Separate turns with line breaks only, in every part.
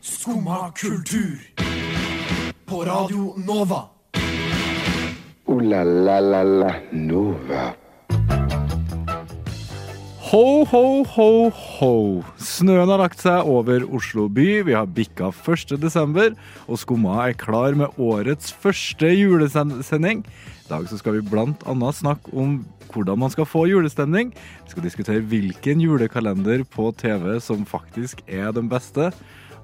Skumma kultur. På Radio Nova.
Ooh la la la la Nova.
Ho, ho, ho, ho. Snøen har lagt seg over Oslo by. Vi har bikka 1. desember, og Skumma er klar med årets første julesending. I dag så skal vi blant annet snakke om hvordan man skal få julestemning. Vi skal diskutere hvilken julekalender på TV som faktisk er den beste.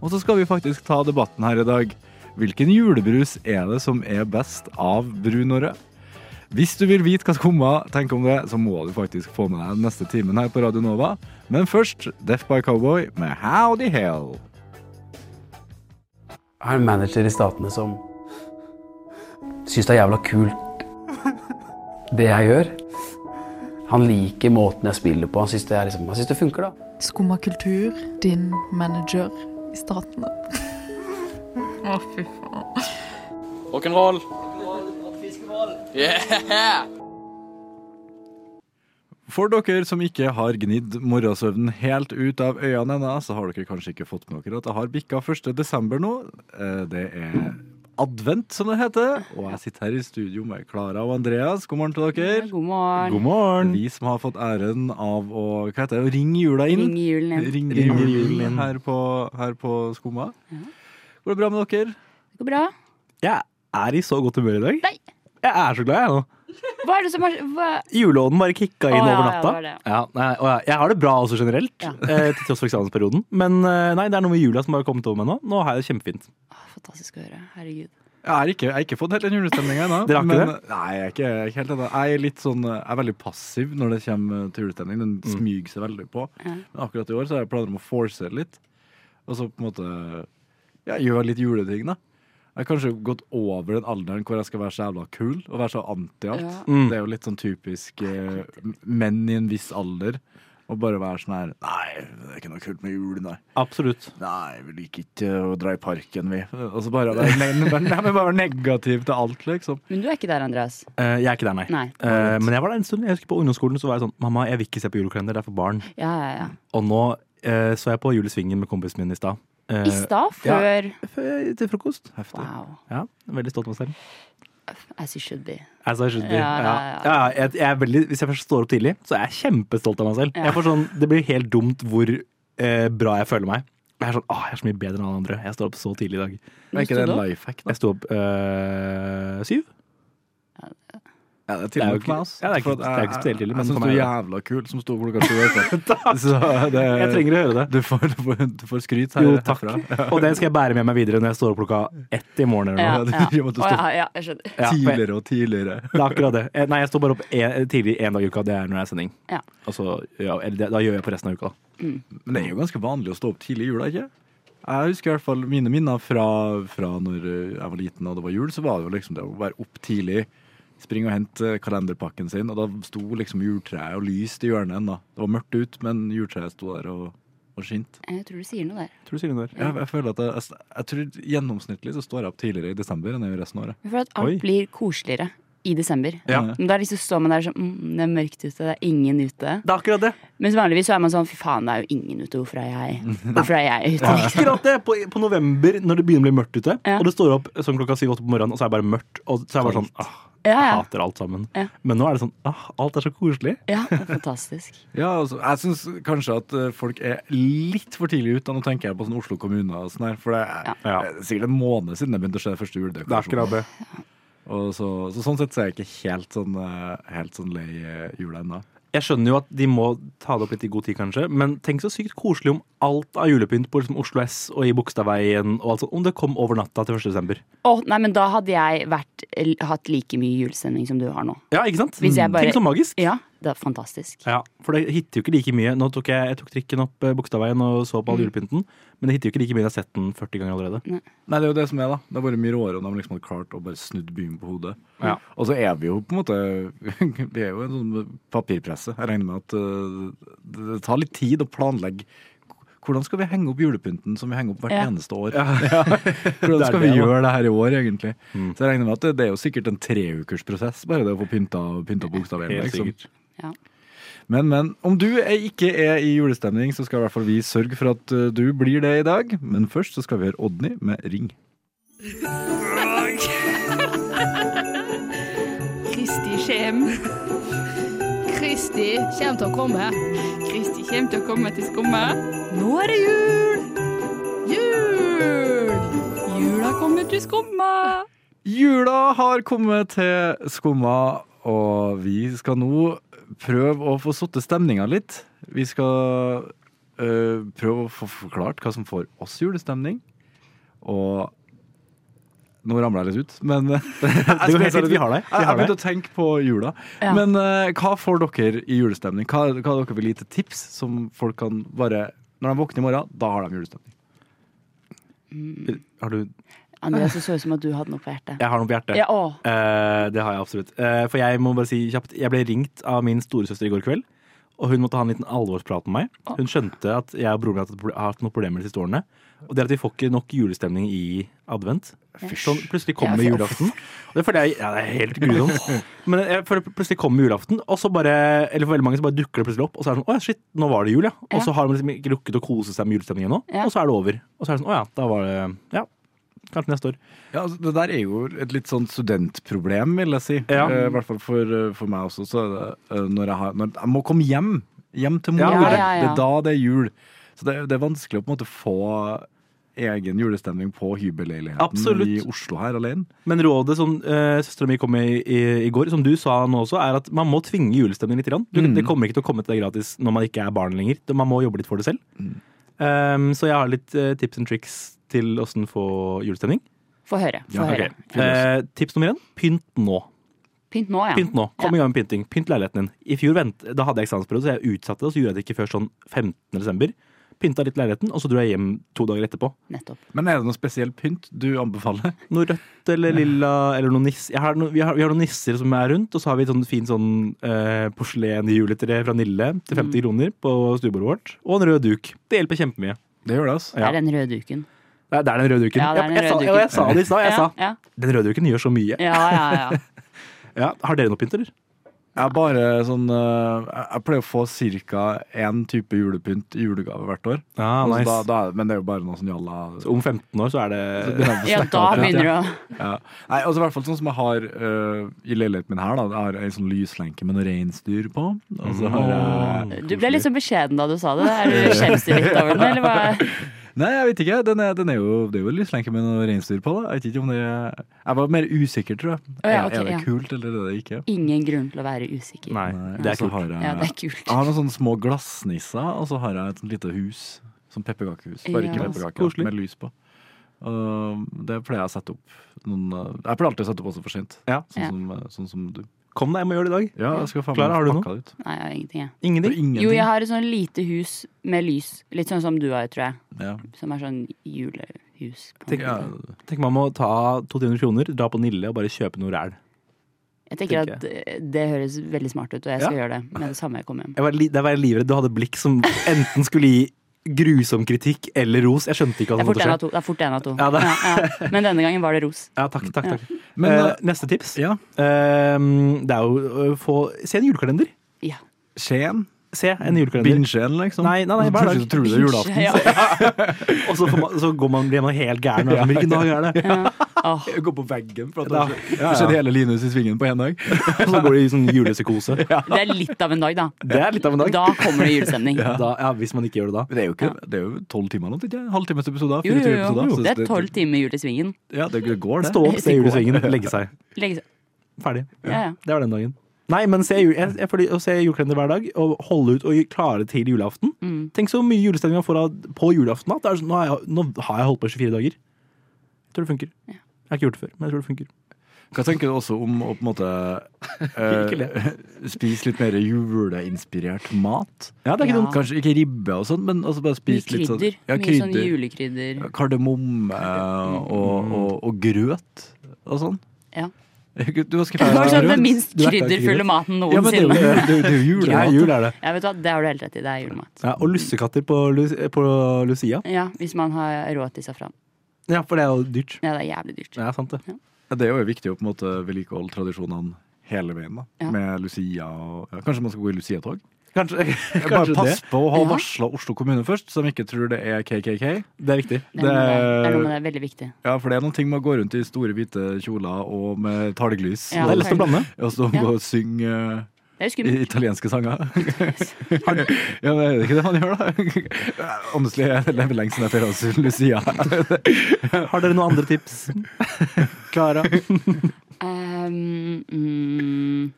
Og så skal vi faktisk ta debatten her i dag. Hvilken julebrus er det som er best av brun og rød? Hvis du vil vite hva Skumma tenker om det, så må du faktisk få med deg den neste timen her på Radio Nova. Men først Deaf by Cowboy med Howdy Hell.
Jeg har en manager i statene som syns det er jævla kult, det jeg gjør. Han liker måten jeg spiller på. Han syns det, er liksom, han synes det funker, da.
Skumma kultur, din manager i staten. Å, fy faen.
Rock'n'roll. Yeah!
For dere som ikke har gnidd morgensøvnen helt ut av øynene ennå, så har dere kanskje ikke fått med dere at det har bikka 1. desember nå. Eh, Det er advent, som det heter. Og jeg sitter her i studio med Klara og Andreas. God morgen til dere.
God morgen.
God morgen. Vi som har fått æren av å hva heter det, å ringe jula inn.
Ring i julen igjen.
Ringe
Ringe
julen
julen.
her på, her på Skumma. Går det bra med dere?
Det går bra.
Jeg er i så godt humør i dag.
Nei.
Jeg er så glad, jeg nå.
Hva er det som er hva?
Juleånden bare kicka inn
Å, ja,
over
ja, det var
natta.
det.
Ja, nei, å, ja. Jeg har det bra også generelt,
Ja.
eh, til tross for eksamensperioden. Men eh, nei, det er noe med jula som bare har kommet over meg nå. Nå har jeg det kjempefint.
Å, Fantastisk å høre. Herregud.
Jeg har ikke, jeg har ikke fått helt den julestemninga ennå.
Dere har ikke
men-
det?
Nei, jeg er ikke, jeg er ikke helt ennå. Jeg er litt sånn, jeg er veldig passiv når det kommer til julestemning. Den
Mm.
smyger seg veldig på.
Ja.
Men akkurat i år så har jeg planer om å force det litt. Og så på en måte ja, gjøre litt juleting, da. Jeg har kanskje gått over den alderen hvor jeg skal være så jævla kul og være så anti alt.
Ja.
Mm.
Det er jo litt sånn typisk eh, menn i en viss alder. Og bare være sånn her Nei, det er ikke noe kult med jul, nei.
Absolutt.
Nei, vi liker ikke å dra i parken, vi. Og så bare være ne- bare- nei, men bare være negativ til alt, liksom.
Men du er ikke der, Andreas.
Eh, jeg er ikke der, nei.
Nei.
Eh, men jeg var der en stund. Jeg husker På ungdomsskolen så var jeg sånn Mamma, jeg vil ikke se på julekalender, det er for barn.
Ja, ja, ja.
Og nå eh, så jeg på Julesvingen med kompisen min i stad. Eh,
I stad, før
f- Til frokost.
Wow.
Ja, Veldig stolt av meg selv.
As you should be.
As I should be.
Ja,
Ja,
ja, ja.
ja. jeg, jeg er veldig, hvis jeg først står opp tidlig, så er jeg kjempestolt av meg selv.
Ja.
Jeg får sånn, det blir helt dumt hvor eh, bra jeg føler meg. Jeg er sånn, åh, jeg er så mye bedre enn alle andre. Jeg står opp så tidlig i dag.
Er ikke det en
da?
life hack, da?
Jeg sto opp eh, syv.
Ja, det er
Det er
for
jo
meg,
ikke-
ass.
ja, det er ikke-
For at
det er ikke
jeg-
spesielt tidlig, men
Jeg
for
syns du
meg
er
er
jævla kul som sto klokka sju. i hvert fall. Så
Jeg
det
trenger å høre det.
du får, du får- du får skryt her,
Jo, takk.
herfra.
Og det skal jeg bære med meg videre når jeg står opp klokka ett i morgen. Eller noe.
Ja,
det
ja.
driver med at du
Å,
står-
ja, ja, jeg skjønner.
Ja, for jeg,
Tidligere og tidligere.
det er akkurat det. Eh, Nei, jeg står bare opp en, tidlig én dag i uka. Det er når det er sending.
Ja.
Og så, ja, eller det, da gjør jeg på resten av uka. da.
Men det er jo ganske vanlig å stå opp tidlig i jula, ikke? Jeg husker i hvert fall mine minner fra, fra når eh, jeg var liten og det var jul, så var det jo liksom det å være opp tidlig, springe og hente eh, kalenderpakken sin, og da sto liksom juletreet og lyst i hjørnet da. Det var mørkt ut, men juletreet sto der og, og skinte.
Jeg tror du sier noe der.
Tror du sier noe der?
Jeg, jeg føler at jeg, jeg, jeg tror gjennomsnittlig så står jeg opp tidligere i desember enn jeg gjør resten av året.
Men For at
Oi.
alt blir koseligere i desember.
Ja.
Men da liksom står man der sånn mm, Det er mørkt ute, det er ingen ute.
Det er akkurat det.
Mens vanligvis så er man sånn Fy faen, det er jo ingen ute. Hvorfor er jeg, hvorfor er jeg ute?
Akkurat det! På, på november, når det begynner å bli mørkt ute,
Ja.
og det står opp sånn klokka syv-åtte på morgenen, og så er det bare mørkt. Og så er jeg bare sånn ah,
Ja,
Jeg
ja.
hater alt sammen.
Ja.
Men nå er det sånn ah, alt er så koselig.
ja det er fantastisk.
Ja, altså, jeg syns kanskje at eh, folk er litt for tidlig ute. Nå tenker jeg på sånn Oslo kommune og sånn her, for det er,
Ja.
det er sikkert en måned siden jeg begynte å se første juledekorasjon.
det.
Og så, så sånn sett så er jeg ikke helt sånn, eh, helt sånn lei eh, jula ennå.
Jeg skjønner jo at de må ta det opp litt i god tid, kanskje, men tenk så sykt koselig om alt av julepynt på liksom Oslo S og i Bogstadveien og alt sånt, om det kom over natta til 1. desember.
Åh, nei, men da hadde jeg vært, l- hatt like mye julesending som du har nå.
Ja, ikke sant?
Hvis jeg
Mm.
bare-
Tenk så magisk.
Ja, det er fantastisk.
Ja, for det hitter jo ikke like mye. Nå tok jeg, jeg tok trikken opp eh, Bogstadveien og så
Mm.
på all julepynten, men det hitter jo ikke like mye. Jeg har sett den 40 ganger allerede.
Nei, det er jo det som er, da. Det har vært mye råere om de liksom hadde klart å bare snudd byen på hodet.
Ja.
Og så er vi jo på en måte Vi er jo en sånn papirpresse. Jeg regner med at eh, det det tar litt tid å planlegge. Hvordan skal vi henge opp julepynten som vi henger opp hvert
Ja.
eneste år? Hvordan skal
Det
vi
er det, da. Mm.
gjøre det her i år, egentlig? Så jeg regner med at det, det er jo sikkert en treukersprosess, bare det å få pynta, pynta bokstaven.
Helt
Liksom.
sikkert.
Ja.
Men, men. Om du er- ikke er i julestemning, så skal i hvert fall vi sørge for at eh, du blir det i dag. Men først så skal vi høre Odny med Ring.
Kristi kjem. Kristi kjem til å komme. Kristi kjem til å komme til skumme. Nå er det jul! Jul! Jula kommer til skumma.
Jula har kommet til Skumma, og vi skal nå prøve å få satt til stemninga litt. Vi skal øh, prøve å få forklart hva som får oss i julestemning. Og nå ramla jeg litt ut, men jeg,
går helt fint, vi har deg, vi
jeg
har deg.
begynte å tenke på jula.
Ja.
Men øh, hva får dere i julestemning? Hva, hva har dere vil gi til tips som folk kan bare Når de våkner i morgen, da har de julestemning.
Har du
Andreas, det så ut som at du hadde noe på hjertet.
Jeg har noe på hjertet.
Ja, å.
Eh, det har jeg absolutt. Eh, for jeg må bare si kjapt Jeg ble ringt av min storesøster i går kveld. Og hun måtte ha en liten alvorsprat
Ah.
med meg. Hun skjønte at jeg og broren min har hatt proble- har hatt noen problemer de siste årene. Og det er at vi får ikke nok julestemning i advent. Sånn, plutselig kommer
Ja,
julaften. Og det føler jeg ja, det er helt grusomt. Men jeg føler plutselig kommer julaften, og så bare Eller for veldig mange så bare dukker det plutselig opp, og så er det sånn Å ja, shit, nå var det jul, ja. Og
Ja.
så har de liksom ikke rukket å kose seg med julestemning ennå,
Ja.
og så er det over. Og så er det sånn Å ja, da var det Ja, kanskje neste år.
Ja, altså, Det der er jo et litt sånn studentproblem, vil jeg si.
Ja.
Eh, I hvert fall for, eh, for meg også. Så, er det, eh, når jeg, har, når jeg må komme hjem. Hjem til mor.
Ja,
det er-
ja,
Det
ja.
er da det er jul. Så det, er- det er vanskelig å på en måte få egen julestemning på hybelleiligheten
Absolutt.
i Oslo her alene.
Men rådet som uh, søstera mi kom med i, i, i går, som du sa nå også, er at man må tvinge julestemning litt. Grann. Du, Det kommer ikke til å komme til deg gratis når man ikke er barn lenger. Det- Man må jobbe litt for det selv. Um, så jeg har litt eh, tips and tricks til åssen få julestemning.
Få høre. Få
Ja,
høre.
Ok. Eh, tips nummer én pynt nå.
Pynt nå, ja.
Pynt nå. Kom i gang med pynting. Pynt leiligheten din. I fjor vent, da hadde jeg eksamensperiode, så jeg utsatte det. og Så gjorde jeg det ikke før sånn 15. desember. Pynta litt leiligheten, og så dro jeg hjem to dager etterpå.
Nettopp.
Men er det noe spesiell pynt du anbefaler?
Noe rødt eller lilla eller noe niss. Jeg har no, vi, har, vi har noen nisser som er rundt, og så har vi et sånn fint sånn eh, porselen-juletre fra Nille til 50 kroner på stuebordet vårt. Og en rød duk. Det hjelper kjempemye.
Det gjør det, altså.
Det
Ja.
er den røde duken.
Det er, det er den røde duken.
Ja, det er den
jeg, jeg,
røde
sa, ja, jeg sa
duken.
det i stad. Jeg
ja,
sa
ja.
den røde duken gjør så mye.
ja, ja, ja.
Ja, har dere noe pynt, eller?
Jeg bare sånn eh, Jeg jeg pleier å få ca. én type julepynt i julegave hvert år.
Ah,
Altså,
nice.
da, da, er det- men det er jo bare noe sånn jalla
Så om 15 år så er det
ja. ja da begynner du å
Ja. Nei, altså i hvert fall sånn som jeg har øh, i leiligheten min her, da. Jeg har en sånn lyslenke med noen reinsdyr på. Og så har
eh,
jeg
Du ble litt så beskjeden da du sa det. Er du skjemmes du litt over den, eller hva?
Nei, jeg vet ikke. Den er, den er jo, det er jo en lyslenke med noen reinsdyr på. Da. Jeg vet ikke om det er Jeg var mer usikker, tror jeg.
Å, ja,
Er-
ok,
er det
ja.
kult, eller er det ikke?
Ingen grunn til å være usikker. Altså,
Nei, altså.
Nei,
det
og
er
så
kult. Ah.
har jeg-
Ja, det er kult.
Jeg har noen sånne små glassnisser, og så har jeg et sånt lite hus. Sånn pepperkakehus. Bare ikke
Ja.
pepperkake,
Koselig.
med lys på. Og det pleier jeg å sette opp. Noen, øh, jeg pleier alltid å sette opp også for sent.
Ja.
Sånn,
Ja.
Som, øh, sånn som du.
Kom deg hjem og gjør det i dag.
Ja, jeg skal faen
Klara, har du noe?
pakka det ut.
Nei, jeg har ingenting, jeg.
Ingenting.
Ingenting.
Jo, jeg har et sånn lite hus med lys. Litt sånn som du har, tror jeg.
Ja.
Som er sånn julehus. på en
Tenk,
måte.
tenk man må ta 200 kroner, dra på Nille og bare kjøpe noe ræl.
Jeg tenker
tenker
at eh, det høres veldig smart ut, og jeg skal gjøre det med det samme jeg kommer hjem.
Jeg var, li- der var jeg livredd. Du hadde blikk som enten skulle gi grusom kritikk eller ros. Jeg skjønte ikke
Det
hva
er
som
fort en
måtte skje.
av to. Det er fort en av to.
Ja, det-
ja. Men denne gangen var det ros.
Ja, takk, takk, takk.
Men,
eh,
eh,
neste tips
ja.
eh, Det er jo å få Se en julekalender.
Ja.
Skien?
Se en julekalender.
Bindsjeen, liksom?
Nei, nei, nei, hver dag.
Plutselig så tror du det er julaften.
Ja.
Og så, får man, så går man, blir man helt gæren. og er sånn, Hvilken dag er det?
Åh,
Gå på veggen for at
Ja.
det skjer. Det skjedde hele Linus i svingen på én dag.
Og så går det i sånn julepsykose.
det er litt av en dag, da.
Det er litt av en dag.
Da kommer det julestemning.
Da, ja, hvis man ikke gjør det da.
Men det er jo ikke, det er jo tolv timer eller noe, ikke? Halvtimes episode?
Jo, jo,
24
jo.
episoder. så
Det er tolv timer jul i svingen.
Ja, det det går, det.
Stå opp, se julesvingen, legge seg.
Legge seg.
Ferdig.
Ja, ja.
Det var den dagen. Nei, men se, jul- jeg, jeg føler, å se julekalender hver dag og holde ut og klare til julaften. Tenk så mye julestemning man får av, på julaften. At det er, sånn, nå, har jeg, nå har jeg holdt på i 24 dager. Jeg tror det funker. Jeg har ikke gjort det før, men jeg tror det funker.
Hva tenker du også om å på en måte
Ikke
eh, spise litt mer juleinspirert mat?
Ja, det er ikke
Ja.
dumt.
Kanskje ikke ribbe og sånn, men altså bare
Mye
spise litt sånn
krydder.
ja,
Mye sånn
krydder.
julekrydder.
Kardemomme eh, og, og, og grøt og sånn.
Ja.
Du var skeptisk.
Det var sånn den minst
Du vet det er
krydderfulle
krydder.
maten
Ja, men det er jo-
noensinne.
det er jo- det er jo
Det er
julemat.
jul, er det.
Ja, vet du hva, Det har du helt rett i. Det er julemat.
Ja, og lussekatter på, Lu- på Lucia.
Ja, Hvis man har råd til safran.
Ja, for det er jo dyrt.
Ja, det er jævlig dyrt.
Ja, sant det.
Ja, Det er jo viktig å på en måte vedlikeholde tradisjonene hele veien. da
Ja.
Med Lucia og ja, Kanskje man skal gå i Lucia-tog?
Kanskje,
Bare
kanskje det.
pass på å ha
Ja.
varsla Oslo kommune først, så de ikke tror det er KKK.
Det er viktig.
Det er noe med det. Det er noe med det. Veldig viktig.
Ja, for det er noen ting med å gå rundt i store, hvite kjoler og med talglys.
Ja,
det er lett å blande.
Og så
Ja.
gå og synge eh,
Det er
i-
jo skummelt.
italienske sanger. ja, men er det ikke det man gjør, da? Honestly, jeg lever lenge siden jeg feira hos Lucia.
Har dere noen andre tips? Klara.
Ehm, mm,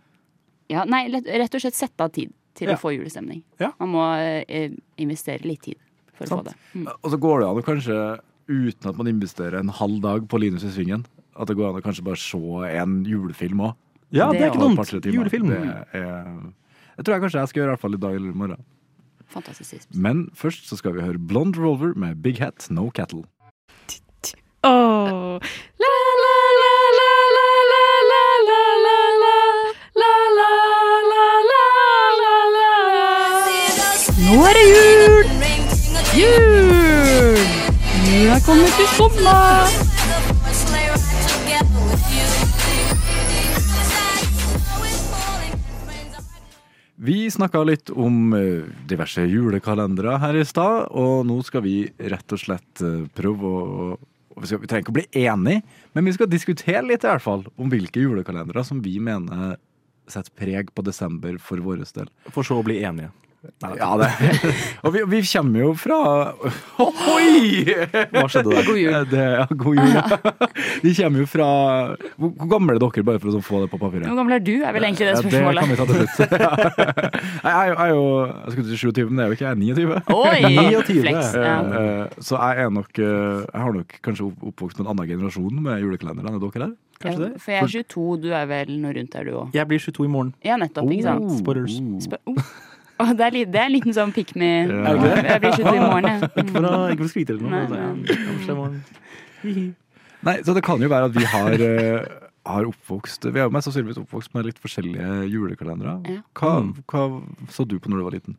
ja, nei, lett- rett og slett sette av tid til
Ja.
å få julestemning.
Ja.
Man må eh, investere litt tid for å få det. Mm.
Og så går det an å kanskje, uten at man investerer en halv dag på Linus i Svingen, at det går an å kanskje bare se en julefilm òg.
Ja, det er ikke
Et
dumt.
par-tre timer.
Julefilm.
Det er, jeg tror jeg kanskje jeg skal gjøre i hvert fall i dag eller i morgen.
Fantastisk.
Men først så skal vi høre Blond Revolver med Big Hat No Cattle.
Åh. La, la, la, la, la, la, la, la, la, la. La, la, la, la, la, la. Nå er det jul! Jul! Jula kommer til sommer!
Vi snakka litt om eh, diverse julekalendere her i stad, og nå skal vi rett og slett eh, prøve å og vi, skal, vi trenger ikke å bli enige, men vi skal diskutere litt i hvert fall om hvilke julekalendere som vi mener setter preg på desember for vår del.
For så å bli enige.
Ja, det. Og vi, vi kommer jo fra Oi!
Hva skjedde der?
God jul.
Det, ja, god jul. ja. Vi kommer jo fra Hvor, hvor gamle er dere, bare for å sånn få det på papiret?
Hvor gammel er du, er vel egentlig det
Ja, det kan
spørsmålet.
vi ta til slutt. Nei, jeg, er jo- jeg er jo jeg skulle til 27, men det er jo ikke jeg. Jeg er 29.
Oi!
29,
Flex. Ja.
Eh, Så jeg er nok eh, Jeg har nok kanskje opp- oppvokst med en annen generasjon med julekalender enn dere der.
Ja,
Kanskje det?
for jeg er 22, du er vel noe rundt der, du òg.
Jeg blir 22 i morgen.
Ja, nettopp, ikke sant.
Spoilers.
Spør oh. Å, det, er litt, det er en liten sånn pick me
Ja.
Jeg blir 22 i morgen, Mm. jeg.
Ikke for å, ikke for å skryte eller noe.
Nei,
men det er- jeg bursdag i morgen.
Nei, så det kan jo være at vi har eh, har oppvokst Vi er jo mest sannsynligvis oppvokst med litt forskjellige julekalendere.
Ja.
Hva, hva så du på når du var liten?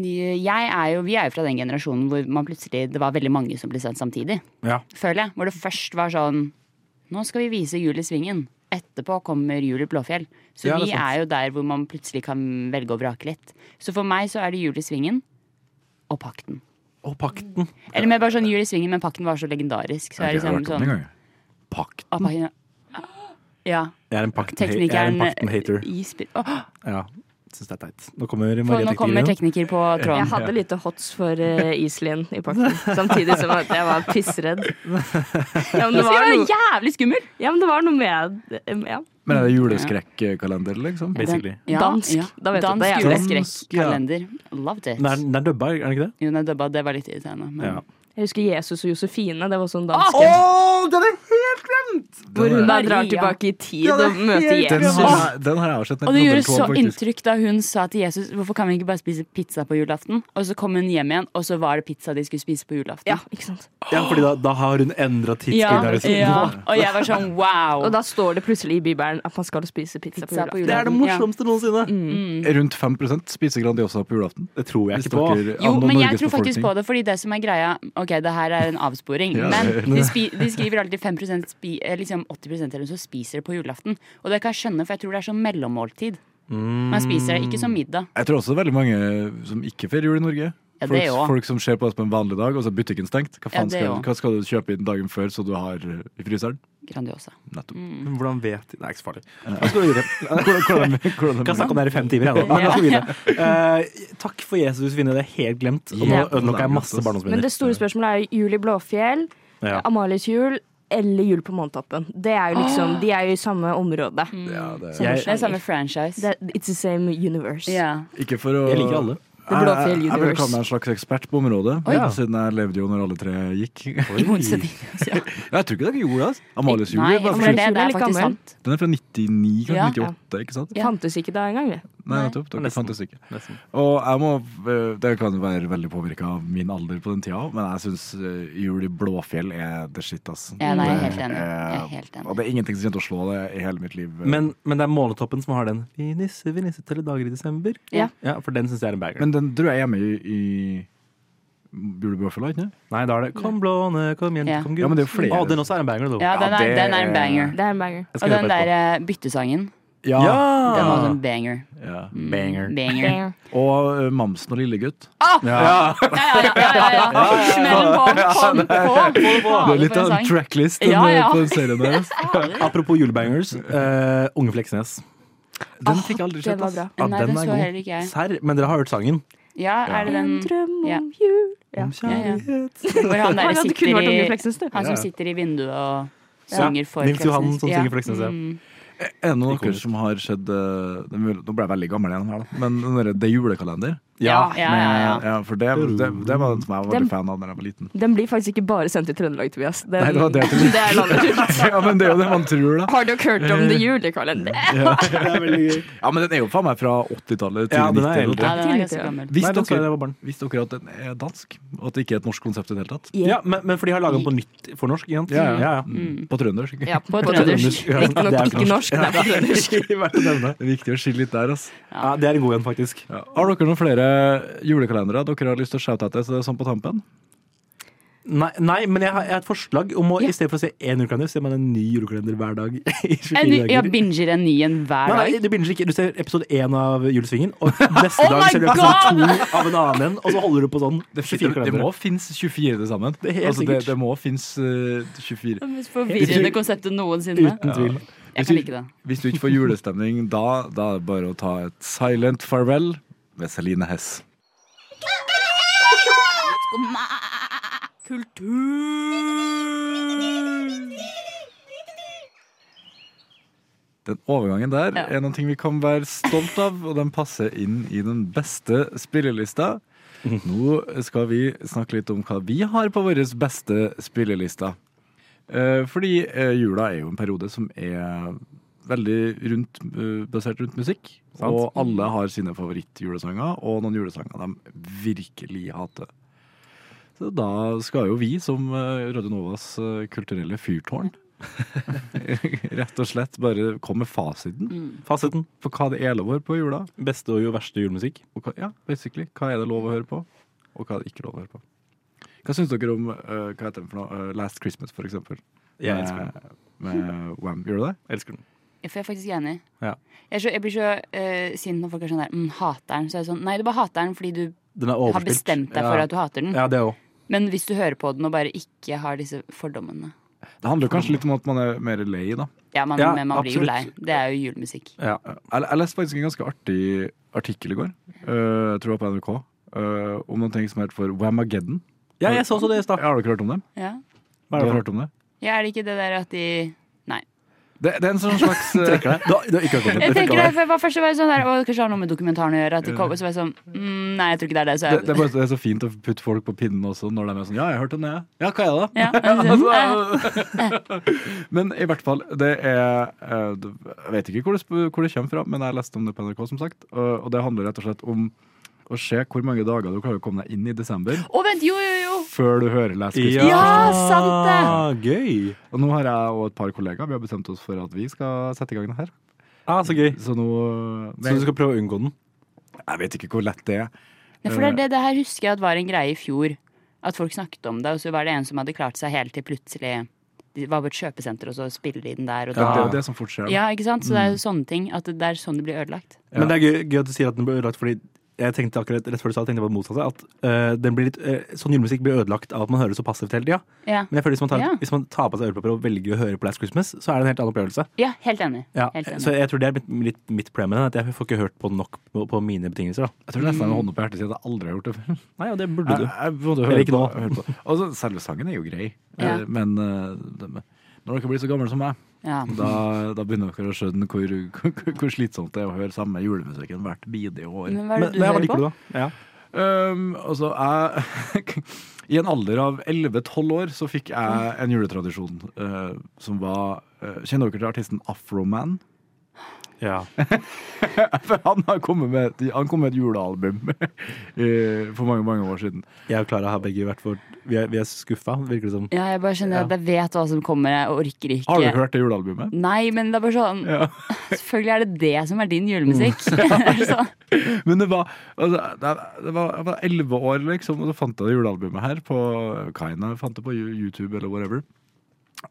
Jeg er jo, vi er jo fra den generasjonen hvor man plutselig, det var veldig mange som ble sendt samtidig.
Ja.
Føler jeg. Hvor det først var sånn Nå skal vi vise Jul i Svingen. Etterpå kommer Jul i Blåfjell. Så
Ja, det er
vi
sant.
er jo der hvor man plutselig kan velge og vrake litt. Så for meg så er det Jul i Svingen og Pakten.
Og pakten.
Eller med bare sånn Jul i Svingen, men Pakten var så legendarisk. Så er det
Jeg har
liksom
ikke hørt om den
sånn
engang. Pakt.
Å, Pakten ah, Ja.
Jeg er en pakten, jeg er en
Teknikeren
pakten hater.
Isby- Åh,
Ja, Syns det er teit. Nå kommer
for
Maria
Nå kommer
Tekniker.
tekniker på
Jeg
tråden.
hadde lite hots for eh, Iselin i pakten, samtidig som at jeg var pissredd. Ja, men det var
Det var
noe,
jævlig skummel!
ja, men det var noe med eh, ja.
Men er det juleskrekkalender, liksom?
Basically.
Den- Mm. ja,
Dansk.
ja.
Da vet du at
Dansk
det er jævlig.
juleskrekkalender. Loved it.
Den er, den er dubba, er den ikke det?
Jo, nei, det, var- det var litt irriterende. Men...
Ja.
Jeg husker Jesus og Josefine. Det var sånn dansk.
den er helt glemt!
Hvor hun da drar
Maria.
tilbake i tid og møter
Den
Jesus.
har, jeg- den har jeg også sett.
Og det
Nobel
gjorde
Tone,
så
faktisk.
inntrykk da hun sa til Jesus hvorfor kan vi ikke bare spise pizza på julaften? Og så kom hun hjem igjen, og så var det pizza de skulle spise på julaften.
Ja, ikke sant?
Ja, fordi da, da har hun liksom. endra
Ja,
tidsgrunnlaget. sitt.
ja. Og jeg var sånn wow.
Og da står det plutselig i Bibelen at man skal spise pizza,
Pizza
på
på
julaften.
Det er det morsomste noensinne!
Mm.
Rundt 5 spiser Grandiosa på julaften.
Det tror jeg
Hvis
ikke på.
dere
Jo,
angår
men jeg
Norges
tror faktisk
befolkning.
på det, fordi det som er greia Ok, det her er en avsporing,
Ja.
men de, spi, de skriver alltid 5 spi, eh, liksom 80 eller så spiser det på julaften. Og det kan jeg skjønne, for jeg tror det er sånn mellommåltid.
Mm.
Man
Mm.
spiser det ikke som middag.
Jeg tror også det er veldig mange som ikke feirer jul i Norge.
Ja,
folk,
det også.
folk som ser på oss på en vanlig dag, og så er butikken stengt. Hva,
Ja,
faen
det
skal,
også.
hva skal du kjøpe inn dagen før så du har eh, i fryseren?
Grandiosa.
Nettopp.
Mm.
Men hvordan vet de Det er ikke så farlig. Jeg skal gå videre.
Hvordan, hvordan, hvordan,
Kan snakke om det her i fem timer, jeg nå. Men jeg skal videre. Eh, takk for Jesus, Vinne. Det er helt glemt. Og nå
Ja.
ødelagte jeg masse
Men
barndomsminner.
det store spørsmålet er jo jul i Blåfjell,
Ja.
Amalies jul eller Jul på Månetoppen. Det er jo liksom, De er jo i samme område.
ja, det,
Samme
Jeg-
Det er samme
sjanger.
franchise.
Det er- It's the same universe.
ja.
ikke for å
Jeg liker alle.
Det blå fjell
Jeg- Jeg, jeg vil
universe.
kalle meg en slags ekspert på området,
Oi.
siden jeg levde jo når alle tre gikk.
I motsetning til
Jeg tror ikke dere gjorde det. altså. Amalies jul
Nei,
er bare
for det, er
fra-
det, det
Jul er
er
litt gammel.
faktisk sant.
den er fra 99, kanskje
Ja.
98, ikke sant?
Ja.
Fantes ikke da engang, det.
Nei, nettopp. Dere
Nesten.
fantes ikke. Og jeg må, eh, det kan jo være veldig påvirka av min alder på den tida, men jeg syns jul i Blåfjell er the shit, ass.
Ja, nei, jeg er helt
Det
enig. Jeg er
er-
helt enig.
Og det er ingenting som kommer til å slå det i hele mitt liv.
Men, men det er Månetoppen som har den. Vi nisser, vi nisser til i dager i desember.
Ja.
Ja, For den syns jeg er en banger.
Men den tror jeg er med i, i Jul i Blåfjell, ikke
Nei, da er det Kom blåne, kom jente,
Ja.
kom gutt.
Ja, men det er jo flere.
Å, den også er en banger, da.
Ja, den er,
det
den er
er-
en banger.
Det er en banger.
Jeg
Og
skal
den
høre på
der eh, byttesangen.
Ja.
Den var sånn banger.
Ja.
Mm,
Banger.
banger.
Og eh, Mamsen og Lillegutt.
Ah! Ja, ja, ja. ja, ja, ja. Smell på, kom på, kom på.
Det er litt av en
sang.
tracklist
Ja,
den, eh,
ja.
på den serien deres.
altså, Apropos julebangers. eh, Unge Fleksnes. Den fikk jeg
den
aldri sett.
var
ass.
bra.
Ja,
Nei,
den
den
er
så
god.
heller ikke jeg.
Serr, men dere har hørt sangen?
Ja, er det den
En drøm om
ja.
jul. Ja.
Om
ja, ja.
kjærlighet.
hvor han der
Herregud, det kunne
sitter
vært Unge
i
Fleksnes, det.
Han
Ja.
som sitter i vinduet og synger for
Nils Johan
Fleksnes.
som synger Fleksnes, ja.
Mm.
Er det noen av dere
Ikonisk.
som har sett eh, det er mulig- Nå ble jeg veldig gammel igjen her, da. Men den derre Det er julekalender.
Ja, ja, ja, ja.
Ja, for det, det, det var den som jeg var
Den-
veldig fan av da jeg var liten.
Den blir faktisk ikke bare sendt til Trøndelag, Tobias. Den,
Nei, det var det jeg trodde.
det er landet rundt.
Ja, men det er jo det man tror, da.
Har dere hørt om The Julekalender?
Ja, men den er jo faen meg fra 80-tallet til
Ja, den er
90-tallet.
Ja,
eldre.
den er ganske gammel.
Nei,
Visste
den så jeg da
dere,
jeg var barn.
visste dere at den er dansk? Og at det ikke er et norsk konsept i det hele tatt?
Ja, men, men for de har laga den på nytt for norsk, ikke sant?
Ja, ja.
ja.
Mm. På trøndersk.
Ja,
På trøndersk.
Ja, det
Riktignok
er
ikke norsk, det er på trøndersk.
Verdt å nevne.
Det er viktig å skille litt der, altså.
Ja, det er en god en, faktisk.
Ja. Har dere noen flere julekalendere dere har lyst til å shoute etter? Så det er sånn på tampen?
Nei, nei men jeg har, jeg har et forslag om å
Ja.
i stedet for å se én julekalender, ser man en ny julekalender hver dag. i 24
En ny,
dager.
ja, binger en ny en hver
Nei,
dag.
nei, du begynner ikke. Du ser episode én av Julesvingen, og neste dag
Oh my
ser du episode to av en annen en, og så holder du på sånn.
Det,
24 kalendere.
må finnes 24 til sammen.
er helt
altså, det,
sikkert.
det må finnes eh, 24.
Det mest forvirrende konseptet noensinne.
Uten tvil.
Jeg kan like det.
Hvis du ikke får julestemning da, da er det bare å ta et silent farvel med Celine Hess. Den overgangen der
Ja.
er noen ting vi kan være stolt av, og den passer inn i den beste spillelista. Nå skal vi snakke litt om hva vi har på vår beste spillelista. Eh, Fordi eh, jula er jo en periode som er veldig rundt, eh, basert rundt musikk.
Sant.
Og alle har sine favorittjulesanger, og noen julesanger de virkelig hater. Så da skal jo vi, som eh, Radio Novas eh, kulturelle fyrtårn, rett og slett bare komme med fasiten
Mm. Fasiten.
på hva det er lov å høre på i jula.
Beste og jo verste julemusikk.
Og hva, ja, basically. Hva er det lov å høre på, og hva er det ikke lov å høre på. Hva syns dere om eh, hva heter den for noe? Eh, Last Christmas, for eksempel?
Jeg
Med-
elsker den.
Med Wham. Gjør du det?
Eh, Elsker den.
For jeg er faktisk enig.
Ja.
Jeg, er så, jeg blir så eh, sint når folk er sånn der mm, 'Hater den'. Så er det sånn Nei, du bare hater den fordi du
Den er
har
overspilt.
bestemt deg
Ja.
for at du hater den.
Ja, det òg.
Men hvis du hører på den og bare ikke har disse fordommene
Det handler kanskje litt om at man er mer lei, da.
Ja, man,
Ja,
men man blir jo
absolutt.
lei. Det er jo julemusikk.
Ja.
Jeg, jeg leste faktisk en ganske artig artikkel i går, eh, jeg tror jeg på NRK, eh, om noen ting som heter for Whamageddon.
ja, jeg så også det i stad.
Har dere hørt om det?
Ja.
Hva har dere hørt om det?
ja, er det ikke det der at de
Det, det er en sånn slags eh,
Trekker deg. Du har- du har ikke hørt om det.
Jeg
Trekker
tenker det,
deg.
for jeg var først så var jeg sånn der, «Å, Kanskje det har noe med dokumentaren å gjøre. At de kommer, så var jeg sånn mm, Nei, jeg tror ikke det er det. Så
det,
jeg,
det, er bare, det er så fint å putte folk på pinnen også når de er sånn Ja, jeg har hørt om det, jeg. Ja, hva er det?
ja, altså, eh,
Men i hvert fall, det er eh, det- Jeg vet ikke hvor det, sp- hvor det kommer fra, men jeg leste om det på NRK, som sagt. Og, og det handler rett og slett om å se hvor mange dager du klarer å komme deg inn i desember
Å, vent, jo, jo, jo!
før du hører Last Christmas.
Ja, sant
det! Gøy.
Og nå har jeg og et par kollegaer Vi har bestemt oss for at vi skal sette i gang det her.
Ah, så gøy.
Så nå
Så du skal prøve å unngå den?
Jeg vet ikke hvor lett det er.
Ja, for det, er det, det her husker jeg at var en greie i fjor. At folk snakket om det, og så var det en som hadde klart seg helt til plutselig De var på et kjøpesenter, og så spiller de den der, og
Eh, Det
da
er
Ja.
jo det som fort skjer. da.
Ja, ikke sant? Så det er jo sånne ting. At det det er sånn det blir ødelagt.
Men det er gøy, gøy at du sier at den ble ødelagt, fordi jeg tenkte akkurat rett før du sa det, tenkte jeg på det motsatte. At eh, den blir litt, eh, sånn julemusikk blir ødelagt av at man hører det så passivt hele tida.
Ja,
Men jeg føler hvis man, tar,
Ja.
hvis man tar på seg ørepropper og velger å høre på Last Christmas, så er det en helt annen opplevelse.
ja helt enig.
Ja.
Helt enig.
Så jeg tror det er mitt, litt mitt problem med den, at jeg får ikke hørt på den nok på, på mine betingelser. Da.
Jeg tror nesten jeg med hånda på hjertet sier at jeg aldri har gjort det før.
Nei, og det burde
Jeg,
du.
jeg måtte
Eller
høre
ikke
på,
nå.
høre på. Og så, selve sangen er jo grei,
Ja.
Eh, men eh, det- når dere blir så gamle som meg,
Ja.
Mm. da, da begynner dere å skjønne hvor, hvor, hvor slitsomt det er å høre samme julemusikken hvert bidige år.
Men hva er det
Men,
du
men
hører
hva
på?
liker du, da? Ja.
Um, altså, jeg I en alder av 11-12 år så fikk jeg en juletradisjon eh, som var eh, Kjenner dere til artisten Afroman?
Ja.
For han har kommet med, et- han kom med et julealbum eh, for mange, mange år siden.
Jeg og Klara har begge vært for Vi er, vi er skuffa, virker det som.
Ja, jeg bare kjenner at jeg vet hva som kommer, jeg orker ikke.
Har du hørt det julealbumet?
Nei, men det er bare sånn
Ja.
Selvfølgelig er det det som er din julemusikk. Så-
Men det var altså, det- det var- Jeg var elleve år, liksom, og så fant jeg det julealbumet her på Kaina. Fant det på Yo- YouTube eller whatever.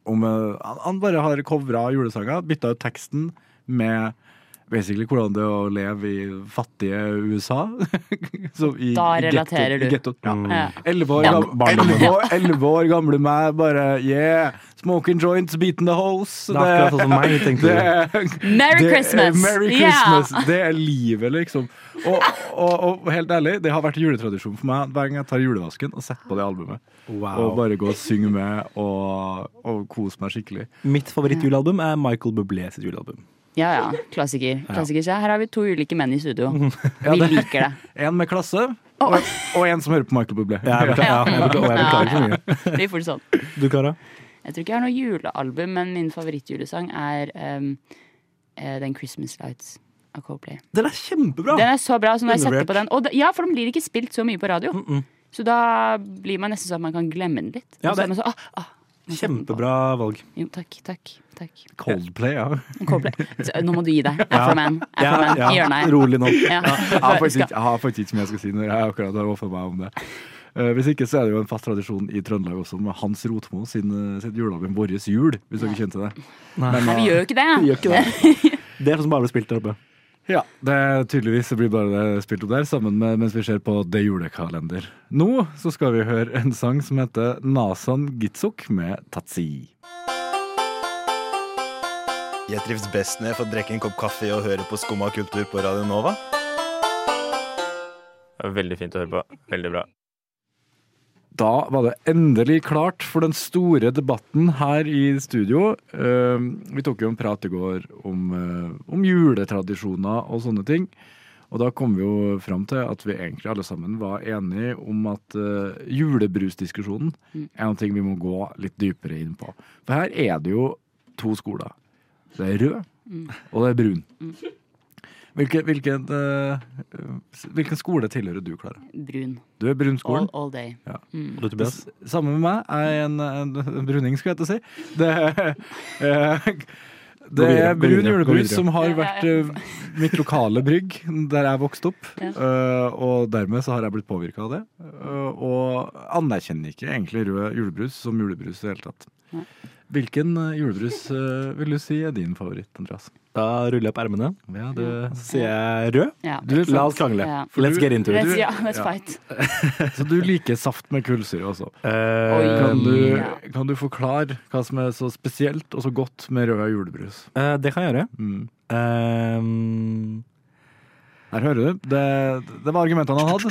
Om, eh, han, han bare har covra julesanger, bytta ut teksten med basically hvordan det er å leve i fattige USA. Som i,
Da
i ghetto-
relaterer du.
i ghetto. Ja.
Mm.
Ja.
Elleve år,
Ja.
gam- elleve år, elleve år gamle meg, bare yeah! Smoking joints, beating the holes.
Det er akkurat sånn som meg, tenkte du.
det-
Merry
det er-
Christmas!
Merry
Ja.
Christmas. Det er livet, liksom. Og, og, og helt ærlig, det har vært juletradisjon for meg hver gang jeg tar julevasken og setter på det albumet. Og bare gå og synge med og, og kose meg skikkelig.
Mitt favorittjulealbum er Michael Bublé sitt julealbum.
Ja ja, klassiker. klassiker. Så her har vi to ulike menn i studio.
Mm.
Vi
det-
liker det.
En med klasse, og, og en som hører på Michael Bublé.
Ja, jeg beklager, ja, jeg beklager, og jeg beklager for mye.
Det blir fort sånn.
Du, Kara?
Jeg tror ikke jeg har noe julealbum, men min favorittjulesang er ehm, eh, den 'Christmas Lights' av Coldplay.
Den er kjempebra!
Den er så bra. Så når jeg setter
Ah, Undervurdert.
på den og da, Ja, for den blir ikke spilt så mye på radio. Så da blir man nesten sånn at man kan glemme den litt.
Ja,
Og så er
det-
man så, ah, ah, man setter den på.
Kjempebra valg.
Jo, takk, takk. takk.
Coldplay, ja.
Coldplay. Så, nå må du gi deg. Afroman. Afroman. I hjørnet.
Rolig nå.
Ja.
Jeg har faktisk ikke- jeg har faktisk ikke så mye jeg skal si når jeg akkurat har offet meg om det. Eh, hvis ikke så er det jo en fast tradisjon i Trøndelag også med Hans Rotmo sin, eh, sitt julealbum 'Vårres jul', hvis dere kjente det.
Nei, vi gjør jo ikke
Vi
det.
gjør ikke det. Det er sånn som bare ble spilt der oppe.
Ja, det er tydeligvis så blir bare det spilt opp der, sammen med mens vi ser på The Julekalender. Nå så skal vi høre en sang som heter Nasan Gitsuk med Tatsi.
Jeg trives best når jeg får drikke en kopp kaffe og høre på Skumma kultur på Radio Nova.
Veldig fint å høre på. Veldig bra.
Da var det endelig klart for den store debatten her i studio. Eh, Vi tok jo en prat i går om, eh, om juletradisjoner og sånne ting. Og da kom vi jo fram til at vi egentlig alle sammen var enige om at eh, julebrusdiskusjonen er noe vi må gå litt dypere inn på. For her er det jo to skoler. Det er rød, og det er brun. Hvilken, hvilken, eh, hvilken skole tilhører du, Klara?
Brun.
Du er brunskolen.
All, all day. Mm.
Og du, Tobias?
Det s- Samme med meg. Jeg er en, en, en bruning, skulle jeg til å si. Det, eh, det
videre,
er brun
gå videre, gå
julebrus
videre.
som har
Ja, ja,
vært eh, mitt lokale brygg der jeg vokste opp.
Ja.
Eh, og dermed så har jeg blitt påvirka av det. Eh, og anerkjenner ikke egentlig rød julebrus som julebrus i det hele tatt. Hvilken eh, julebrus eh, vil du si er din favoritt, Andreas?
Da ruller jeg opp ermene,
Ja, det,
så sier jeg rød.
Ja. sånn-
Du,
La oss krangle.
Ja.
Let's get into it.
Let's, ja, let's
Ja.
fight.
så du liker saft med kullsyre også?
Eh,
Kan du,
Ja.
kan du forklare hva som er så spesielt og så godt med rød julebrus?
eh, det kan jeg gjøre.
Mm.
Eh,
Her hører du. Det, det var argumentene han hadde.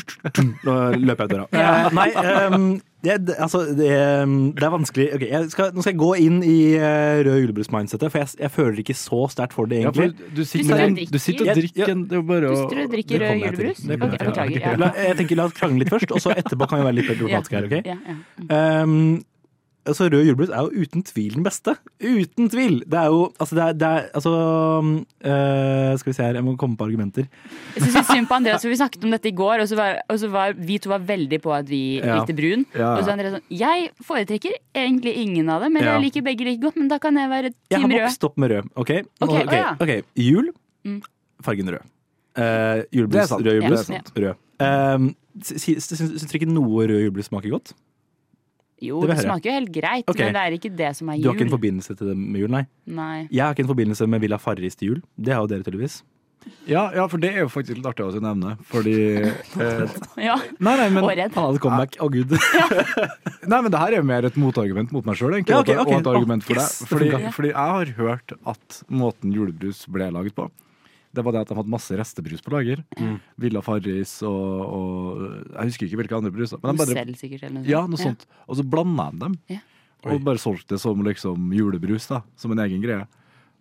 Nå løper jeg ut døra. Eh, nei, ehm, det, det- altså, det, ehm, det er vanskelig. Ok, jeg skal, nå skal jeg gå inn i eh, rød julebrus-mindsetet, for jeg, jeg føler ikke så sterkt for det,
Ja, for
egentlig.
du, sitter, du,
Du drikker.
sitter og drikker en det er jo bare
Du
å-
sitter og
det
drikker
kommer
rød
jeg til.
julebrus?
Det kommer
Ok,
jeg til.
beklager. Ja.
La, jeg tenker la oss krangle litt først, og så etterpå kan vi være litt mer problematiske her. ok?
Ja, ja.
Ehm, altså, rød julebrus er jo uten tvil den beste. Uten tvil! Det er jo Altså, det er, det er altså, eh, Skal vi se her, jeg må komme på argumenter.
Jeg synes litt synd på Andreas, for vi snakket om dette i går, og så var, og så var vi to var veldig på at vi
Ja.
likte brun.
Ja, ja.
Og så var Andreas sånn Jeg foretrekker egentlig ingen av dem, men
Ja.
jeg liker begge like godt, men da kan jeg være
Jeg har
team rød.
vokst opp med rød. Ok, Nå-
Ok, å
ok,
ja. Mm.
ok. Jul, fargen rød. Eh, julebrus,
Det er sant.
rød
Ja, det
julebrus,
er sant.
rød. Um, Syns dere ikke noe rød julebrus smaker godt?
Jo,
Det
det,
vil jeg høre.
smaker jo helt greit,
Ok.
men det er ikke det som er
Du har ikke en
jul.
forbindelse til det med jul, nei?
Nei.
Jeg har ikke en forbindelse med Villa Farris til jul. Det har jo dere tydeligvis.
ja, ja, for det er jo faktisk litt artig også å nevne, fordi eh,
Ja.
Nei, nei, men,
Og redd.
Han hadde comeback. Å, gud.
nei, men det her er jo mer et motargument mot meg sjøl, egentlig.
Ja, ok,
og et-
ok.
Og et argument for
Å,
deg.
yes, det
Fordi,
funker.
fordi jeg har hørt at måten julebrus ble laget på, det var det at de hadde masse restebrus på lager.
Mm.
Villa Farris og, og Jeg husker ikke hvilke andre bruser. Men de bare
Selv sikkert, eller noe sånt.
Ja, noe sånt. Og så blanda de dem.
Ja.
Oi.
Og bare solgte det som liksom julebrus, da. Som en egen greie.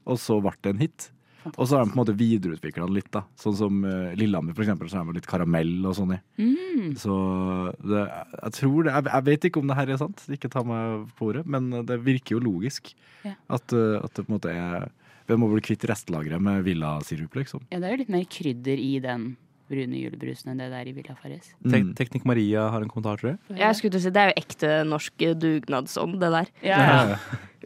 Og så ble det en hit. Og så har de på en måte videreutvikla den litt, da. Sånn som eh, Lillehammer, for eksempel, så er det litt karamell og sånn i.
Mm.
Så det, jeg tror det jeg, jeg vet ikke om det her er sant, ikke ta meg på ordet, men det virker jo logisk.
Ja.
At, eh, at det på en måte er Vi må bli kvitt restlageret med villasirup, liksom.
Ja, det er jo litt mer krydder i den brune julebrusen enn det der i Villa Farris.
Tek
Mm.
Teknikk Maria har en kommentar, tror jeg.
Jeg skulle til å si, Det er jo ekte norsk dugnadsånd, det der.
Ja, ja.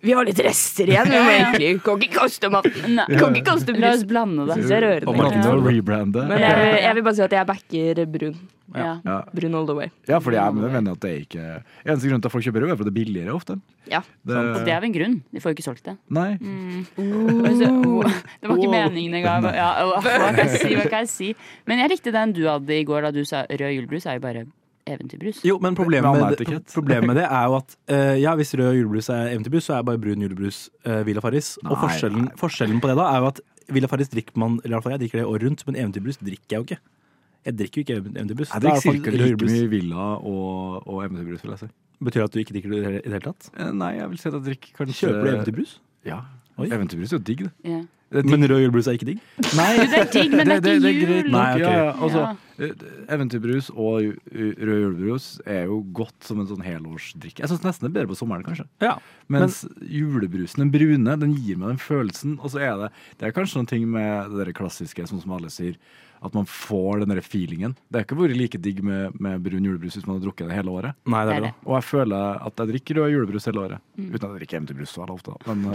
Vi har litt rester igjen. Vi må egentlig kan ikke kaste maten.
Nei.
Kan ikke kaste
La oss blande det.
Jeg synes det er rørende.
Og Martin må rebrande.
Men jeg, jeg vil bare si at jeg backer brun.
Ja.
Ja.
Brun all the way.
Ja, fordi jeg mener at det er ikke Eneste grunn til at folk kjøper rød, er fordi det er billigere ofte.
Ja.
Det-
Og det er av en grunn. De får jo ikke solgt det.
Nei.
Mm. Men så- Det var ikke meningen engang. Ja, hva kan jeg si, hva kan jeg si? Men jeg likte den du hadde i går da du sa rød julebrus er jo bare eventyrbrus.
Jo, men problemet
Med
med,
annet etikett.
problemet med det er jo at eh, ja, hvis rød julebrus er eventyrbrus, så er bare brun julebrus uh, Villa Farris. Og
Nei,
forskjellen, forskjellen på det da er jo at Villa Farris drikker man eller i hvert fall jeg drikker det året rundt, men eventyrbrus drikker jeg jo ikke. Jeg drikker jo ikke event- eventyrbrus.
Jeg
Da er
drikker
det
cirka
faktisk rød
like
julebrus.
mye Villa og, og eventyrbrus, vil jeg si.
Betyr det at du ikke drikker det i det hele tatt?
Eh, Nei, jeg vil si at jeg drikker kanskje
Kjøper du eventyrbrus?
Ja.
Oi.
Eventyrbrus er jo digg, det.
Ja.
Det er digg.
Men rød julebrus er ikke digg?
Nei,
Jo, det er digg, men det er ikke jul.
greit nok.
Nei, ok.
ja, ja. Altså, eh, Eventyrbrus og ju- rød julebrus er jo godt som en sånn helårsdrikk. Jeg syns nesten det er bedre på sommeren, kanskje.
Ja.
Mens julebrusen, den brune, den gir meg den følelsen. Og så er det Det er kanskje noen ting med det der klassiske, sånn som alle sier, at man får den der feelingen. Det har ikke vært like digg med, med brun julebrus hvis man har drukket det hele året.
Nei, det er det.
Og jeg føler at jeg drikker rød julebrus hele året.
Mm.
Uten at jeg drikker eventyrbrus så veldig ofte, da. Men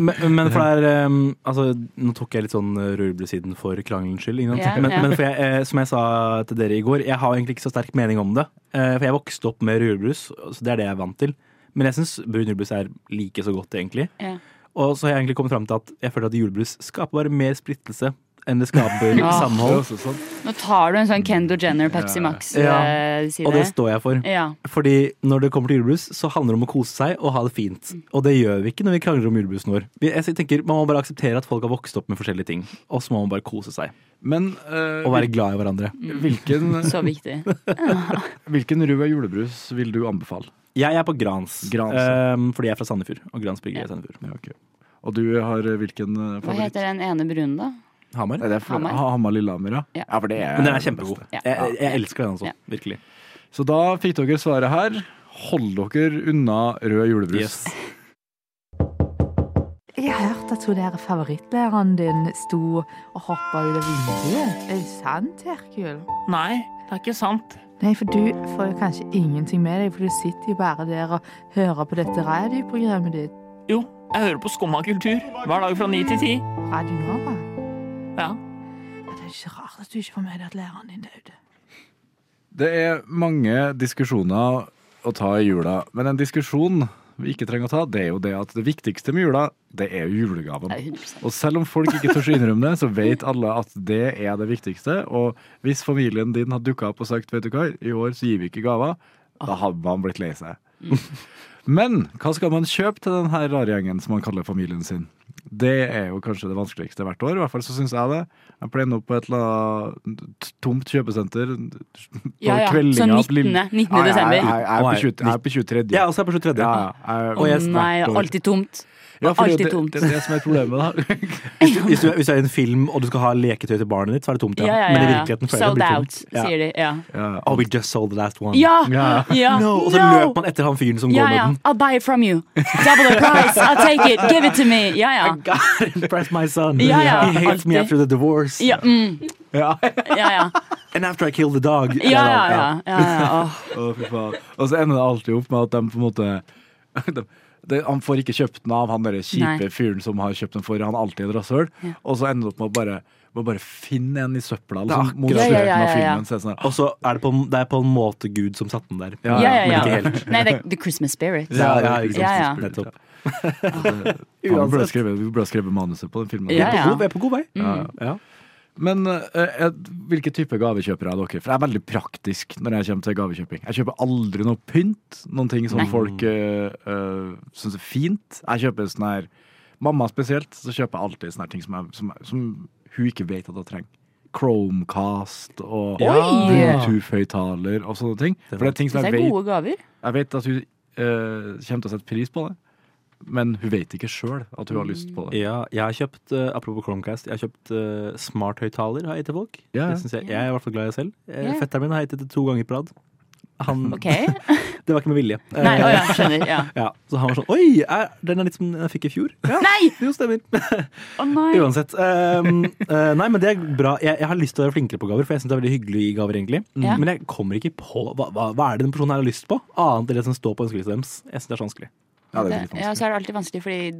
eh,
men, men for det er um, altså, Nå tok jeg litt sånn rødblusiden for krangelens skyld. ikke sant?
Ja,
men,
ja.
men for jeg, eh, som jeg sa til dere i går, jeg har egentlig ikke så sterk mening om det. Eh, for jeg vokste opp med rødbrus, så det er det jeg er vant til. Men jeg syns brun julebrus er like så godt, egentlig.
Ja.
Og så har jeg egentlig kommet fram til at jeg føler at julebrus skaper bare mer splittelse enn det skaper
Ja.
det er
samhold.
også sånn.
Nå tar du en sånn Kendo Jenner Pepsi Max
Ja.
eh, side.
Og det står jeg for.
Ja.
Fordi når det kommer til julebrus, så handler det om å kose seg og ha det fint. Og det gjør vi ikke når vi krangler om julebrusen vår. Vi- Jeg tenker, Man må bare akseptere at folk har vokst opp med forskjellige ting, og så må man bare kose seg.
Men eh,
Og være Mm. glad i hverandre.
hvilken,
Så viktig.
hvilken rød julebrus vil du anbefale?
Jeg er på Grans,
Grans,
ehm, fordi jeg er fra Sandefjord. Og Grans bryggeri er Sandefjord.
Ja, ok. Og du har hvilken eh,
Hva
favoritt?
heter den ene brune, da?
Hamar.
Nei, det er Hamar.
Hamar?
Hamar Lillehammer, ja.
Ja.
for det er
Men den er kjempegod.
Ja.
Jeg, jeg, jeg elsker den, altså.
Ja.
Virkelig.
Så da fikk dere svaret her. Hold dere unna rød julebrus.
Yes.
Jeg har hørt at hun der favorittlæreren din sto og hoppa ut av vinduet. Er det sant, Herkul?
Nei, det er ikke sant.
Nei, for du får jo kanskje ingenting med deg, for du sitter jo bare der og hører på dette radioprogrammet ditt.
Jo, jeg hører på Skumma kultur hver dag fra ni til ti.
Radio Nova.
Ja.
Ja, Det er ikke rart at du ikke får med deg at læreren din døde.
Det er mange diskusjoner å ta i jula, men en diskusjon vi ikke trenger å ta, det er jo det at det viktigste med jula, det er jo julegaven.
Det er 100%.
Og selv om folk ikke tør å innrømme det, så vet alle at det er det viktigste. Og hvis familien din hadde dukka opp og sagt vet du hva, i år så gir vi ikke gaver,
Ah.
da hadde man blitt lei seg.
Mm.
Men hva skal man kjøpe til denne rare gjengen som man kaller familien sin? Det er jo kanskje det vanskeligste hvert år, i hvert fall så syns jeg det. Jeg pleier nå på et eller annet tomt kjøpesenter. på
Ja, ja.
kveldinga
Sånn
på Lill-
19., 19.
Ja, jeg-
desember.
Jeg, jeg, er på 20 jeg er på 23.
Jeg er også på 23.
Ja, ja, jeg-
Og jeg
Nei,
snakker over.
alltid tomt.
Ja, fordi
alltid
det,
tomt.
Det er det som er problemet, da.
Hvis, du- hvis, du, er- hvis du er i en film og du skal ha leketøy til barnet ditt, så er det tomt.
Ja, ja,
Men i
ja. ja.
virkeligheten føler jeg det
Sold
blir
out,
tomt. Ja.
sier de. Ja!
Ja,
Oh, we just sold the last one.
ja.
Ja.
ja.
No, og så
No.
løper man etter han fyren som
Ja,
går
ja.
med den.
I'll buy it from you. Double the price. I'll take it. Give it to me. Ja, ja.
Impress my son.
Ja, ja,
He hates me
alltid.
after the divorce.
Ja, mm.
Ja.
ja, ja.
And after I kill the dog.
Ja, ja, ja. ja, ja. Åh.
Å, fy faen. Og så ender det alltid opp med at de på en måte de, de, Han får ikke kjøpt den av han derre
Nei.
kjipe fyren som har kjøpt den for, han er alltid et rasshøl. Og så ender det opp med å bare må bare finne en i søpla
Det er
liksom, mot
akkurat
slutten
det. Ja, ja,
av
ja, ja.
filmen. Så er det sånn,
Og så er det på, det er på en måte Gud som satte den der.
Ja,
ja, ja,
Men
ja.
ikke helt.
Nei, det er the Christmas spirit.
Ja, ja, ikke sant.
Ja, ja.
Nettopp.
Faen, vi burde ha skrevet, vi burde ha skrevet manuset på den filmen.
Ja,
Vi er
ja. Mm.
på god- Vi er på god vei. Ja.
Men eh, eh, hvilke type gavekjøpere er dere? For jeg er veldig praktisk når jeg kommer til gavekjøping. Jeg kjøper aldri noe pynt, noen ting som
Nei.
folk uh, syns er fint. Jeg kjøper sånn her Mamma spesielt, så kjøper jeg alltid sånne her ting som, jeg, som, jeg- som hun ikke vet at hun trenger. Chromecast og Bluetooth-høyttaler og sånne ting. For det er ting som
Det
jeg
er
vet,
gode gaver.
jeg vet at hun eh, kommer til å sette pris på det, men hun vet ikke sjøl at hun har lyst på det.
Ja, jeg har kjøpt, eh, apropos Chromecast, jeg har kjøpt eh, smarthøyttaler har jeg gitt til folk.
Ja, ja.
Det synes jeg, jeg er i hvert fall glad i det selv. Eh,
Ja.
Fetteren min har gitt det to ganger på rad. Han,
Ok.
Det var ikke med vilje. Eh,
Nei, å ja, skjønner. Ja.
ja, så han var sånn Oi, er, den er litt som den jeg fikk i fjor. Ja,
Nei!
jo, stemmer.
Å nei.
Uansett. ehm, eh, nei, men det er bra. Jeg, jeg har lyst til å være flinkere på gaver, for jeg syns det er veldig hyggelig å gi gaver, egentlig.
Mm. Ja.
Men jeg kommer ikke på hva, hva, hva er det den personen her har lyst på, annet enn det som står på ønskelista deres. Jeg synes det er så vanskelig. Ja, det er litt vanskelig.
Ja, så er det alltid vanskelig, fordi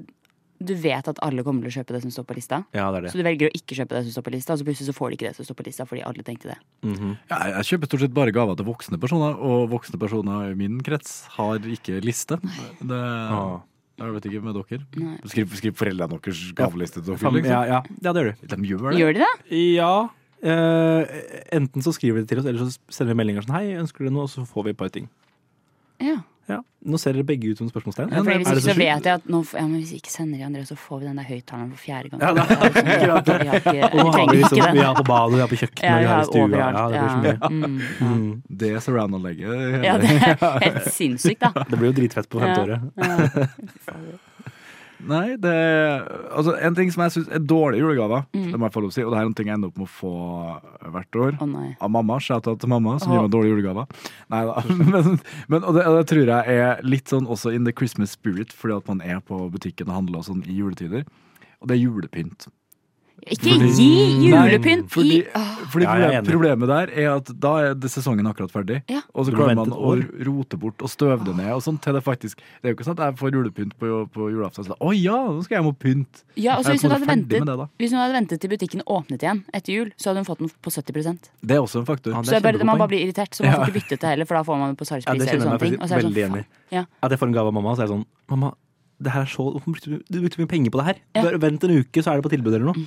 du vet at alle kommer til å kjøpe det som står på lista.
Ja, det er det.
Så du velger å ikke kjøpe det som står på lista, og så plutselig så får de ikke det som står på lista fordi alle tenkte det.
Mm-hmm.
ja, jeg- jeg kjøper stort sett bare gaver til voksne personer, og voksne personer i min krets har ikke liste. Det, jeg vet ikke med dere.
Nei.
Ah. Skriv, skriv foreldrene deres gaveliste til dere.
Fam-
Liksom.
Ja, ja. ja, det gjør de.
De gjør det.
Gjør de det?
Ja. Eh, enten så skriver de til oss, eller så sender vi meldinger sånn Hei, ønsker dere noe? Og så får vi et par ting.
Ja.
Ja. Nå ser dere begge ut som spørsmålstegn.
Ja, fordi
Er
hvis
det
ikke så
sjukt?
vet jeg at nå, f- ja, men hvis jeg ikke sender de andre, så får vi den der høyttaleren for fjerde gang.
Ja, det er akkurat det.
Vi har ikke- vi
Og nå har
trenger ikke
vi liksom-
den.
vi er på badet, vi er på kjøkkenet,
Ja,
vi er i stua.
overalt,
Ja, det blir så mye. Mm.
Det er surround-anlegget.
Ja, det er helt sinnssykt, da.
Det blir jo dritfett på femte året.
Nei, det Altså, en ting som jeg syns er dårlige julegaver,
Mm.
det må jeg få lov å si, og det her er en ting jeg ender opp med å få hvert år av mamma. Shout-out til mamma, som gir
Åh.
meg dårlige julegaver. Nei da. Men, men og det, og det tror jeg er litt sånn også in the Christmas spirit, fordi at man er på butikken og handler og sånn i juletider. Og det er julepynt.
Ikke gi julepynt
Nei, fordi,
i Åh.
fordi
Ja, jeg er
proble-
enig.
problemet der er at da er det sesongen akkurat ferdig, og så
Du må
klarer
vente
man
et
å
år.
rote bort og støve det ned og sånn til det faktisk Det er jo ikke sånn at jeg får julepynt på, på julaften. Så da, Å ja, nå skal jeg hjem og pynte.
Ja, og så
Jeg er på en
hvis hun, hadde
måte ferdig
ventet,
med det, da.
hvis hun hadde ventet til butikken åpnet igjen etter jul, så hadde hun fått den på 70
Det er også en faktor.
Så jeg bare, man bare blir irritert, så man får
Ja.
ikke byttet det heller, for da får man det på
Ja,
salgspris
det
eller
kjenner jeg
sånne
meg
ting. Og så er
faktisk
det
veldig
sånn,
enig i.
faen. Ja.
At jeg får en gave av mamma, så er jeg sånn Mamma, det her er så Hvorfor brukte du, du brukte mye penger på det her? Bare Vent en uke, så er det på tilbud eller noe.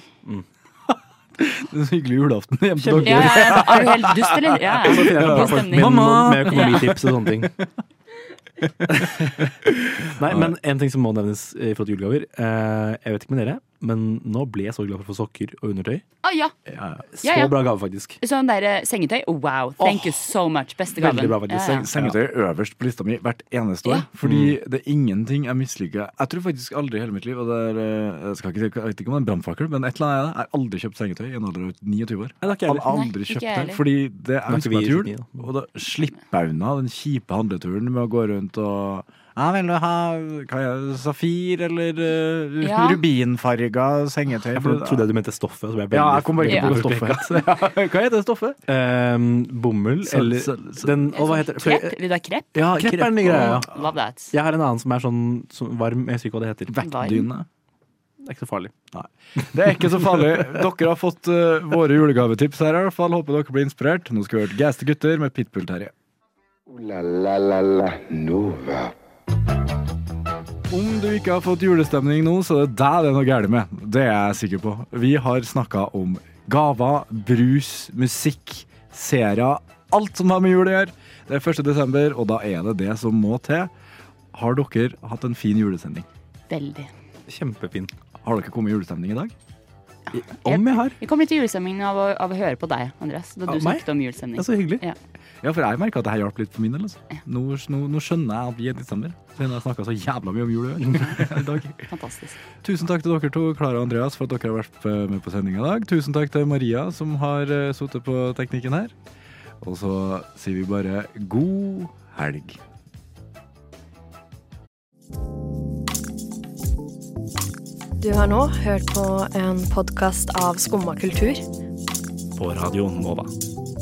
Det er så hyggelig julaften hjemme
Kjempe-
til dere.
Ja, ja, ja,
er du helt dust, eller? Ja, ja.
Og så finner jeg
God
sånn folk
stemning.
med,
Mamma!
med økonomitips og sånne ting. Nei,
Nei.
men en ting som må nevnes i forhold til julegaver. eh, Jeg vet ikke med dere, men nå ble jeg så glad for å få sokker og undertøy.
Ah, ja.
Så
Ja, ja.
bra gave, faktisk.
Sånn der eh, sengetøy. Wow, thank you so much. Beste gaven.
Veldig bra, faktisk.
Ja, ja.
Seng- Sengetøy er øverst på lista mi hvert eneste år. Fordi
Mm.
det er ingenting jeg misliker. Jeg tror faktisk aldri i hele mitt liv og det er, eh, Jeg skal ikke si jeg vet ikke om det er en brannfakkel, men et eller annet er det. Jeg har aldri kjøpt sengetøy i en alder av 29 år.
Nei, det har ikke jeg
Hadde
heller.
aldri
Nei, ikke
kjøpt
jeg
det.
heller.
Fordi det
Da er
er
ikke vi
ønska til jul,
29 da.
og da slipper jeg unna den kjipe handleturen med å gå rundt og jeg vil ha hva er det, safir eller uh,
Ja.
rubinfarga sengetøy.
Ja, for da trodde jeg du mente stoffet. så ble jeg veldig-
Ja, jeg kom bare ikke på
veldig
stoffet.
forvirret.
Hva heter stoffet?
Ehm, bomull
Så-
eller
så- så-
den, og hva heter det?
Krepp? Vil du ha krepp?
Ja, krepp er den nye greia.
Oh, Love that.
Jeg har en annen som er sånn som varm, jeg husker ikke hva det heter.
Vettdyne.
Det er ikke så farlig.
Det er ikke så farlig. Dere har fått eh, våre julegavetips her i hvert fall. Håper dere blir inspirert. Nå skal vi høre Gaste gutter med Pitbull Terje.
Ooh-la-la-la-la Nova.
Om du ikke har fått julestemning nå, så er det deg det er noe galt med. Det er jeg sikker på. Vi har snakka om gaver, brus, musikk, serier. Alt som har med jul å gjøre. Det er 1. desember, og da er det det som må til. Har dere hatt en fin julesending?
Veldig.
Kjempefin.
Har dere kommet i julestemning i dag?
Om jeg har?
Jeg kom litt i julestemningen av å, av å høre på deg, Andreas.
Av
Da du
meg? Altså,
snakket om julestemning.
Ja, så hyggelig.
Ja.
Ja, for jeg merka at det her hjalp litt for min del. Altså. Nå, nå, nå skjønner jeg at vi er litt sammen. Siden jeg snakka så jævla mye om jul i år. i dag.
Fantastisk.
Tusen takk til dere to, Klara og Andreas, for at dere har vært eh, med på sendinga i dag. Tusen takk til Maria, som har eh, sittet på teknikken her. Og så sier vi bare god helg.
Du har nå hørt på en podkast av Skumma kultur.
På Radio Nova.